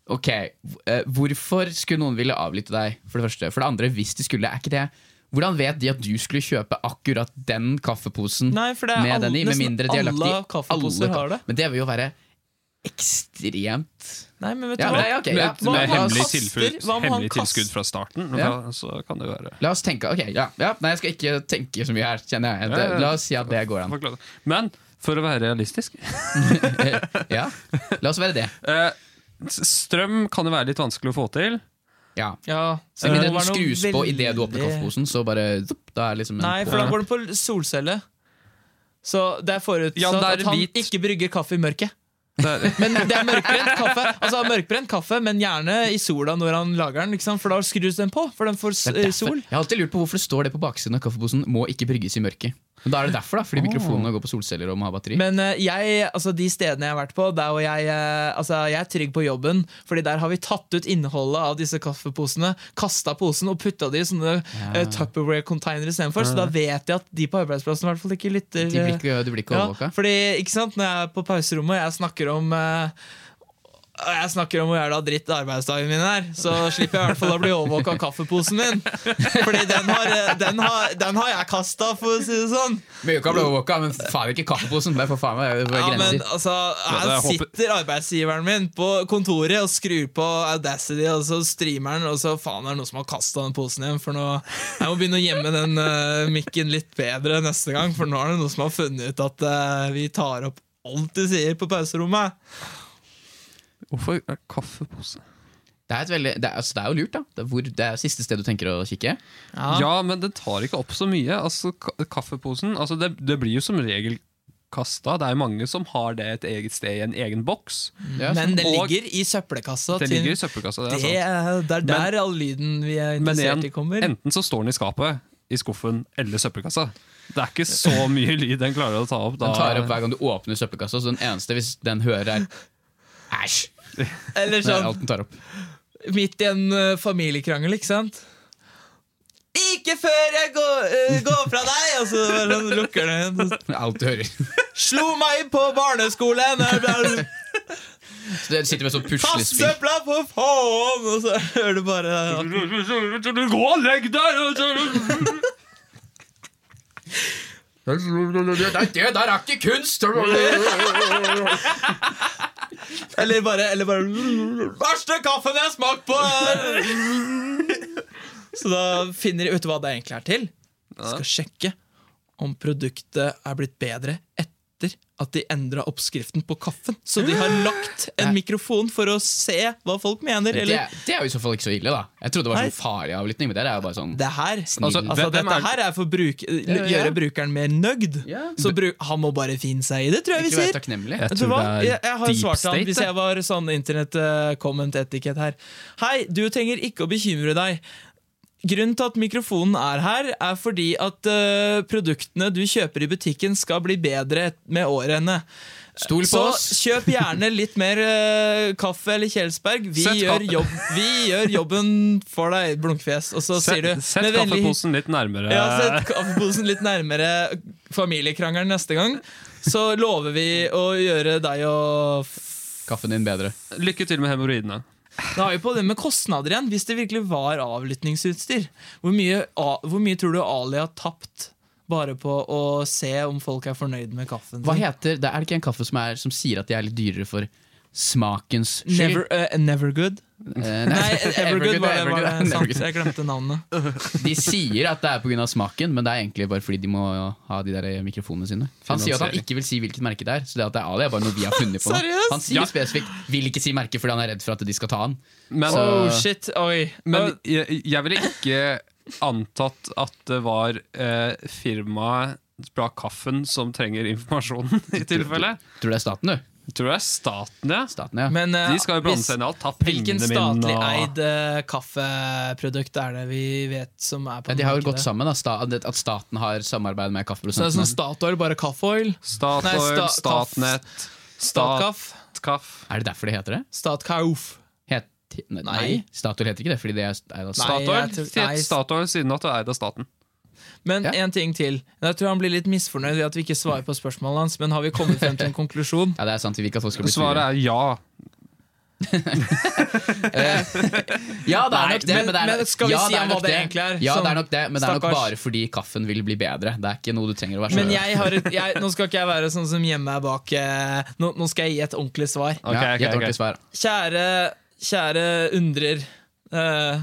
[SPEAKER 1] Ok, eh, hvorfor skulle noen ville avlytte deg? For det første. For det andre, hvis de skulle, er ikke det Hvordan vet de at du skulle kjøpe akkurat den kaffeposen
[SPEAKER 3] Nei, for det er
[SPEAKER 1] med
[SPEAKER 3] alle-
[SPEAKER 1] den i? Med
[SPEAKER 3] nesten
[SPEAKER 1] mindre de har lagt i
[SPEAKER 3] alle kaffeposer
[SPEAKER 1] ka-
[SPEAKER 3] har det.
[SPEAKER 1] Men det vil jo være ekstremt
[SPEAKER 3] Nei, men vet du
[SPEAKER 1] Ja,
[SPEAKER 3] hva?
[SPEAKER 1] men- ja, ok, ja.
[SPEAKER 2] Med, med
[SPEAKER 3] Hva om han
[SPEAKER 2] hemmelig,
[SPEAKER 3] kaster?
[SPEAKER 2] tilfud,
[SPEAKER 3] Hva om han
[SPEAKER 2] hemmelig
[SPEAKER 3] kaster?
[SPEAKER 2] tilskudd fra starten,
[SPEAKER 1] Ja.
[SPEAKER 2] så kan det være
[SPEAKER 1] La oss tenke Ok, ja, ja. Nei, jeg skal ikke tenke så mye her, kjenner
[SPEAKER 2] Ja,
[SPEAKER 1] jeg.
[SPEAKER 2] ja.
[SPEAKER 1] Det, la oss si at det går an.
[SPEAKER 2] Men for å være realistisk
[SPEAKER 1] Ja, la oss være det.
[SPEAKER 2] eh, s- strøm kan jo være litt vanskelig å få til.
[SPEAKER 1] Ja.
[SPEAKER 3] Ja,
[SPEAKER 1] Så med
[SPEAKER 3] det
[SPEAKER 1] den
[SPEAKER 3] var noe
[SPEAKER 1] skrus på idet du åpner
[SPEAKER 3] veldig-
[SPEAKER 1] kaffeposen, så bare zopp, Da er liksom en
[SPEAKER 3] Nei, for da går den på solcelle. Så det er forutsatt
[SPEAKER 2] Ja, det er
[SPEAKER 3] at han
[SPEAKER 2] hvit.
[SPEAKER 3] ikke brygger kaffe i mørket.
[SPEAKER 2] Det er,
[SPEAKER 3] Men det er mørkbrent kaffe, altså han har mørkbrent kaffe men gjerne i sola når han lager den, ikke sant? for da skrus den på, for den får s-
[SPEAKER 1] Det er
[SPEAKER 3] eh,
[SPEAKER 1] derfor-
[SPEAKER 3] sol.
[SPEAKER 1] Jeg har alltid lurt på hvorfor det står det på baksiden av kaffeposen 'må ikke brygges i mørket'. Men Da er det derfor, da, fordi mikrofonene går på solceller og må ha batteri.
[SPEAKER 3] Men eh, jeg, altså de stedene jeg har vært på, der hvor jeg, eh, altså jeg er trygg på jobben, Fordi der har vi tatt ut innholdet av disse kaffeposene, kasta posen og putta det i sånne eh, Tupperware-containere istedenfor. Så da vet jeg at de på arbeidsplassen i hvert fall ikke lytter.
[SPEAKER 1] Mm. de blir
[SPEAKER 3] eh,
[SPEAKER 1] ikke, du blir ikke
[SPEAKER 3] Ja,
[SPEAKER 1] overvåka.
[SPEAKER 3] fordi, ikke sant, når jeg er på pauserommet og jeg snakker om eh, jeg snakker om hvor jævla dritt arbeidsdagen min er, så slipper jeg i hvert fall å bli overvåka av kaffeposen min. Fordi den har, eh, den har, den har jeg kasta, for å si det sånn.
[SPEAKER 1] Men jo ikke bli overvåka, men faen ikke kaffeposen. Det er for faen meg det er
[SPEAKER 3] Ja, men
[SPEAKER 1] grenser.
[SPEAKER 3] altså,
[SPEAKER 2] det-
[SPEAKER 3] Her
[SPEAKER 2] jeg håper-
[SPEAKER 3] sitter arbeidsgiveren min på kontoret og skrur på Audacity, og så streamer den, og så faen er det noen som har kasta den posen igjen. For nå, Jeg må begynne å gjemme den eh, mikken litt bedre neste gang, for nå er det noen som har funnet ut at eh, vi tar opp alt du sier på pauserommet.
[SPEAKER 2] hvorfor er det kaffepose?
[SPEAKER 1] Det, er et veldig, det, er, altså, det er jo lurt, da. Det er, hvor, det er siste sted du tenker å kikke.
[SPEAKER 2] Ja. men den tar ikke opp så mye. Altså, ka- kaffeposen altså, det, det blir jo som regel kasta. Det er jo mange som har det et eget sted i en egen boks.
[SPEAKER 1] Ja,
[SPEAKER 3] Men det
[SPEAKER 2] Og-
[SPEAKER 3] ligger i søppelkassa.
[SPEAKER 2] Det
[SPEAKER 3] til-
[SPEAKER 2] ligger i søppelkassa. Det altså.
[SPEAKER 3] det,
[SPEAKER 2] er sant.
[SPEAKER 3] er- det er der all lyden vi er
[SPEAKER 2] Men
[SPEAKER 3] interessert
[SPEAKER 2] igjen,
[SPEAKER 3] i, kommer.
[SPEAKER 2] Enten så står den i skapet, i skuffen eller søppelkassa. Det er ikke så mye lyd den klarer å ta opp. Da.
[SPEAKER 1] Den tar opp hver gang du åpner søppelkassa, så den eneste hvis den hører, er æsj.
[SPEAKER 3] Eller
[SPEAKER 1] Det er
[SPEAKER 3] sånn
[SPEAKER 1] alt den tar opp.
[SPEAKER 3] midt i en eh, familiekrangel, ikke sant? Ikke før jeg går, eh, går fra deg! Og så bare sånn lukker den igjen.
[SPEAKER 1] Det er Alt du hører.
[SPEAKER 3] Slo meg på barneskolen! jeg ble-
[SPEAKER 1] Så du sitter med sånn
[SPEAKER 3] Kast
[SPEAKER 1] puslespill.
[SPEAKER 3] søpla, for faen! Og så hører du bare
[SPEAKER 2] Gå og legg deg!
[SPEAKER 1] Det der er ikke kunst!
[SPEAKER 3] Eller bare, eller bare Verste kaffen jeg har smakt på! Så da finner de ut hva det egentlig er til. De skal sjekke om produktet er blitt bedre etter at de endra oppskriften på kaffen. Så de har lagt en mikrofon for å se hva folk mener.
[SPEAKER 1] Det,
[SPEAKER 3] Eller
[SPEAKER 1] det er jo i så fall ikke så ille, da. Jeg trodde det var
[SPEAKER 3] Nei.
[SPEAKER 1] sånn farlig avlytting, men det der er jo bare sånn
[SPEAKER 3] det her
[SPEAKER 1] Snill.
[SPEAKER 2] Altså,
[SPEAKER 3] Altså,
[SPEAKER 2] hvem- hvem
[SPEAKER 3] dette
[SPEAKER 2] er-
[SPEAKER 3] her er for bruk,
[SPEAKER 1] ja, ja.
[SPEAKER 3] gjøre brukeren mer nøyd.
[SPEAKER 1] Ja.
[SPEAKER 3] Så bru- han må bare finne seg i det, tror jeg vi
[SPEAKER 1] Ikke vær
[SPEAKER 3] sier.
[SPEAKER 1] takknemlig.
[SPEAKER 2] Jeg
[SPEAKER 3] Vet du
[SPEAKER 2] tror
[SPEAKER 3] hva?
[SPEAKER 2] det er
[SPEAKER 3] Jeg, jeg har
[SPEAKER 2] deep
[SPEAKER 3] svart til han
[SPEAKER 2] state,
[SPEAKER 3] hvis
[SPEAKER 2] det.
[SPEAKER 3] jeg var sånn internett-comment-etikett her. Hei, du trenger ikke å bekymre deg. Grunnen til at mikrofonen er her, er fordi at eh, produktene du kjøper i butikken skal bli bedre et- med årene.
[SPEAKER 1] Stol på
[SPEAKER 3] Så
[SPEAKER 1] oss.
[SPEAKER 3] kjøp gjerne litt mer eh, kaffe eller Kjelsberg. Vi,
[SPEAKER 2] Sett
[SPEAKER 3] gjør,
[SPEAKER 2] kaffe.
[SPEAKER 3] jobb, vi gjør jobben for deg, blunkfjes. Og så sier
[SPEAKER 2] Sett,
[SPEAKER 3] du
[SPEAKER 2] sett
[SPEAKER 3] med vennlig-
[SPEAKER 2] kaffeposen litt nærmere.
[SPEAKER 3] ja, sett kaffeposen litt nærmere familiekrangelen neste gang. Så lover vi å gjøre deg og f-
[SPEAKER 1] Kaffen din bedre.
[SPEAKER 2] Lykke til med hemoroidene.
[SPEAKER 3] Da har vi på det med kostnader igjen, hvis det virkelig var avlyttingsutstyr. Hvor mye, a- hvor mye tror du Ali har tapt bare på å se om folk er fornøyd med kaffen?
[SPEAKER 1] Hva
[SPEAKER 3] sin?
[SPEAKER 1] heter det? Er det ikke en kaffe som, er, som sier at de er litt dyrere for smakens skyld?
[SPEAKER 3] Never, eh, never Good?
[SPEAKER 1] Eh,
[SPEAKER 3] Nei,
[SPEAKER 1] Evergood,
[SPEAKER 3] Evergood var det, var
[SPEAKER 1] Evergood,
[SPEAKER 3] det sant.
[SPEAKER 1] Evergood.
[SPEAKER 3] Jeg glemte navnet.
[SPEAKER 1] De sier at det er pga. smaken, men det er egentlig bare fordi de må ha de der mikrofonene sine. Han sier at han
[SPEAKER 2] Finansiering.
[SPEAKER 1] ikke vil si hvilket merke det er, så det at det er Ali er bare noe vi har funnet på. nå.
[SPEAKER 3] Seriøst?
[SPEAKER 1] Han sier
[SPEAKER 2] Ja.
[SPEAKER 1] spesifikt 'vil ikke si merke' fordi han er redd for at de skal ta han.
[SPEAKER 2] Men,
[SPEAKER 1] Så-
[SPEAKER 3] Oh shit, oi. Eh,
[SPEAKER 2] men jeg, jeg ville ikke antatt at det var eh, firmaet bra kaffen som trenger informasjonen, i tilfelle.
[SPEAKER 1] Tror det er staten, du.
[SPEAKER 2] Jeg tror det er staten, ja.
[SPEAKER 1] Staten, ja.
[SPEAKER 3] Men, eh,
[SPEAKER 2] De skal jo blande
[SPEAKER 3] hvis-
[SPEAKER 2] seg inn i alt. Ta
[SPEAKER 3] Hvilken
[SPEAKER 2] pengene
[SPEAKER 3] statlig
[SPEAKER 2] mine og
[SPEAKER 3] eid eh, kaffeprodukt er det vi vet som er på
[SPEAKER 1] ja, de har jo gått
[SPEAKER 3] markedet?
[SPEAKER 1] sammen, da. Sta at at staten har samarbeid med
[SPEAKER 3] Så det er sånn
[SPEAKER 1] kaffeprodusentene.
[SPEAKER 3] Statoil, bare kaffeoil?
[SPEAKER 2] Statoil,
[SPEAKER 3] Nei, sta- kaff.
[SPEAKER 2] Statnett, Statkaff.
[SPEAKER 3] Statkaff?
[SPEAKER 1] Er det derfor det heter det?
[SPEAKER 3] Statkauf.
[SPEAKER 1] Het nei.
[SPEAKER 3] Nei.
[SPEAKER 1] Statoil heter ikke det, fordi det er eid av staten.
[SPEAKER 3] Nei,
[SPEAKER 2] Statoil,
[SPEAKER 3] jeg tror-
[SPEAKER 2] sier
[SPEAKER 3] nei,
[SPEAKER 2] Statoil siden at du er eid av staten.
[SPEAKER 3] Men
[SPEAKER 1] Ja.
[SPEAKER 3] én ting til. Jeg tror han blir litt misfornøyd ved at vi ikke svarer på spørsmålet hans, men har vi kommet frem til en konklusjon?
[SPEAKER 1] Ja, det er sant. Vi vil ikke at folk skal bli
[SPEAKER 2] Svaret
[SPEAKER 1] sure.
[SPEAKER 2] er ja.
[SPEAKER 1] Ja, det er
[SPEAKER 3] Nei,
[SPEAKER 1] nok det,
[SPEAKER 3] men-
[SPEAKER 1] men det er
[SPEAKER 3] men skal vi
[SPEAKER 1] ja,
[SPEAKER 3] si
[SPEAKER 1] det er
[SPEAKER 3] om
[SPEAKER 1] nok
[SPEAKER 3] hva det egentlig er?
[SPEAKER 1] Ja,
[SPEAKER 3] Sånn,
[SPEAKER 1] det er nok det, men det er nok
[SPEAKER 3] stakkars.
[SPEAKER 1] bare fordi kaffen vil bli bedre. Det er ikke noe du trenger å være
[SPEAKER 3] Men
[SPEAKER 1] så
[SPEAKER 3] jeg har et, jeg, nå skal ikke jeg være sånn som gjemmer meg bak eh, nå, nå skal jeg gi et ordentlig svar.
[SPEAKER 2] Ok,
[SPEAKER 1] ja,
[SPEAKER 2] ok,
[SPEAKER 1] gi et
[SPEAKER 2] ok.
[SPEAKER 1] ordentlig svar.
[SPEAKER 3] Kjære, kjære undrer. eh,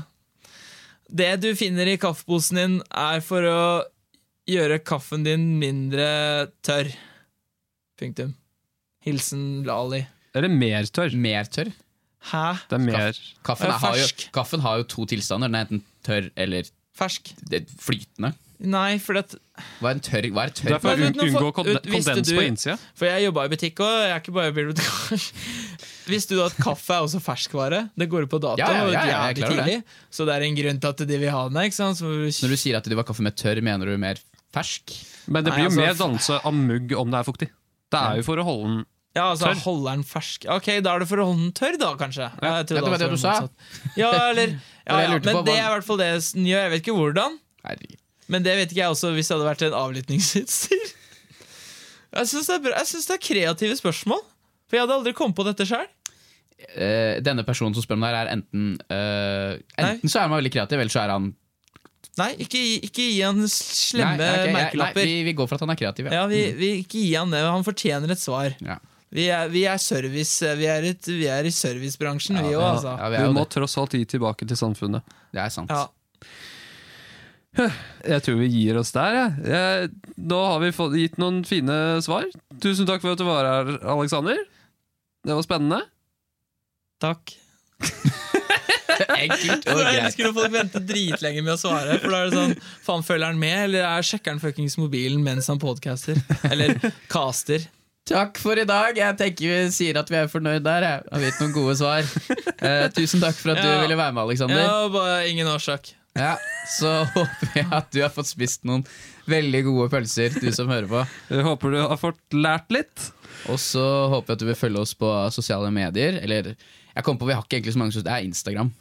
[SPEAKER 3] det du finner i kaffeposen din, er for å gjøre kaffen din mindre tørr. Punktum. Hilsen Lali.
[SPEAKER 2] Eller mer tørr.
[SPEAKER 1] Mer tørr?
[SPEAKER 3] Hæ?
[SPEAKER 2] Det er mer
[SPEAKER 1] Kaffen,
[SPEAKER 3] Ja,
[SPEAKER 1] er, har jo,
[SPEAKER 3] fersk.
[SPEAKER 1] kaffen har jo to tilstander. Den er enten tørr eller
[SPEAKER 3] Fersk?
[SPEAKER 1] det- flytende.
[SPEAKER 3] Nei, for det
[SPEAKER 1] Hva er en tørr? Hva er tørr?
[SPEAKER 2] Det er for å
[SPEAKER 3] Men
[SPEAKER 2] un-
[SPEAKER 3] nå
[SPEAKER 2] unngå
[SPEAKER 3] får-
[SPEAKER 2] konde-
[SPEAKER 3] ut- visste
[SPEAKER 2] kondens
[SPEAKER 3] du-
[SPEAKER 2] på innsida.
[SPEAKER 3] For jeg jobba i butikk òg, jeg er ikke bare bibliotekar. Visste du at kaffe er også ferskvare? Det går ut på dato
[SPEAKER 1] Ja, ja, ja, ja, jeg
[SPEAKER 3] jævlig
[SPEAKER 1] klarer det.
[SPEAKER 3] tidlig. Så det er en grunn til at de vil ha den. Ikke sant? Så,
[SPEAKER 1] Når du sier at du var kaffe med tørr, mener du mer fersk?
[SPEAKER 2] Men det
[SPEAKER 3] Nei,
[SPEAKER 2] blir jo
[SPEAKER 3] altså,
[SPEAKER 2] mer
[SPEAKER 3] f-
[SPEAKER 2] danse av mugg om det er fuktig. Det er jo for å holde den
[SPEAKER 3] ja, altså
[SPEAKER 2] tørr.
[SPEAKER 3] holder den fersk. Ok, da er det for å holde den tørr, da, kanskje. Jeg trodde
[SPEAKER 1] dette var
[SPEAKER 3] altså
[SPEAKER 1] det du sa.
[SPEAKER 3] motsatt. Ja, eller ja,
[SPEAKER 1] Det jeg
[SPEAKER 3] ja,
[SPEAKER 1] lurte på
[SPEAKER 3] Men
[SPEAKER 1] var-
[SPEAKER 3] det er i hvert fall det den gjør. Jeg vet ikke hvordan,
[SPEAKER 1] Herregud.
[SPEAKER 3] men det vet ikke jeg også hvis det hadde vært en avlyttingsutstyr. Jeg syns det, er bra- jeg synes det er kreative spørsmål, for jeg hadde aldri kommet på dette sjøl.
[SPEAKER 1] Eh, denne personen som spør om det her, er enten eh, Enten så er man veldig kreativ, eller så er han
[SPEAKER 3] Nei, ikke, gi- ikke gi han slemme
[SPEAKER 1] Nei, ok, jeg-
[SPEAKER 3] merkelapper.
[SPEAKER 1] Nei, vi, vi går for at han er kreativ, ja.
[SPEAKER 3] Ja, vi, vi ikke gi han det. Han fortjener et svar.
[SPEAKER 1] Ja.
[SPEAKER 3] Vi er, vi er, service, eh, vi er, et, vi er i servicebransjen, vi
[SPEAKER 1] det-
[SPEAKER 3] òg, altså.
[SPEAKER 1] Ja, vi er
[SPEAKER 2] Du
[SPEAKER 1] jo
[SPEAKER 2] må
[SPEAKER 1] det.
[SPEAKER 2] tross alt gi tilbake til samfunnet.
[SPEAKER 1] det er sant.
[SPEAKER 3] Ja.
[SPEAKER 2] Jeg tror vi gir oss der, jeg. Eh, Nå har vi fått, gitt noen fine svar. Tusen takk for at du var her, Aleksander. Det var spennende.
[SPEAKER 3] Takk.
[SPEAKER 1] Enkelt og
[SPEAKER 3] Jeg
[SPEAKER 1] greit.
[SPEAKER 3] elsker når folk venter dritlenge med å svare. For da er det sånn Faen, følger han med, eller er sjekker han fuckings mobilen mens han podcaster? Eller caster?
[SPEAKER 1] Takk for i dag. Jeg tenker vi sier at vi er fornøyd der. Jeg har gitt noen gode svar. Eh, tusen takk for at du
[SPEAKER 3] Ja.
[SPEAKER 1] ville være med, Aleksander.
[SPEAKER 3] Ja, bare ingen årsak.
[SPEAKER 1] Ja, så håper jeg at du har fått spist noen veldig gode pølser, du som hører på.
[SPEAKER 2] Jeg håper du har fått lært litt.
[SPEAKER 1] Og så håper jeg at du vil følge oss på sosiale medier. Eller jeg kom på, vi har ikke egentlig så mange sosiale Det er Instagram.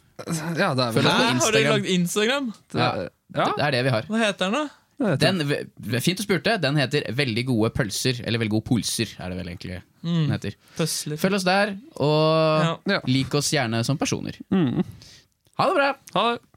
[SPEAKER 2] Ja, det er
[SPEAKER 1] Følg
[SPEAKER 2] vel
[SPEAKER 1] oss på
[SPEAKER 3] Hæ? Har dere
[SPEAKER 1] Instagram.
[SPEAKER 3] lagd Instagram?
[SPEAKER 1] Ja.
[SPEAKER 2] Ja,
[SPEAKER 1] Det er det vi har.
[SPEAKER 3] Hva heter den, da?
[SPEAKER 2] det
[SPEAKER 1] Den, v- fint du spurte. Den heter Veldig gode pølser. Eller Veldig gode pulser, er det vel egentlig
[SPEAKER 3] Mm.
[SPEAKER 1] den heter.
[SPEAKER 3] Tøsler.
[SPEAKER 1] Følg oss der, og
[SPEAKER 3] Ja.
[SPEAKER 2] Ja.
[SPEAKER 1] lik oss gjerne som personer. Ha det bra!
[SPEAKER 2] Mm. Ha det.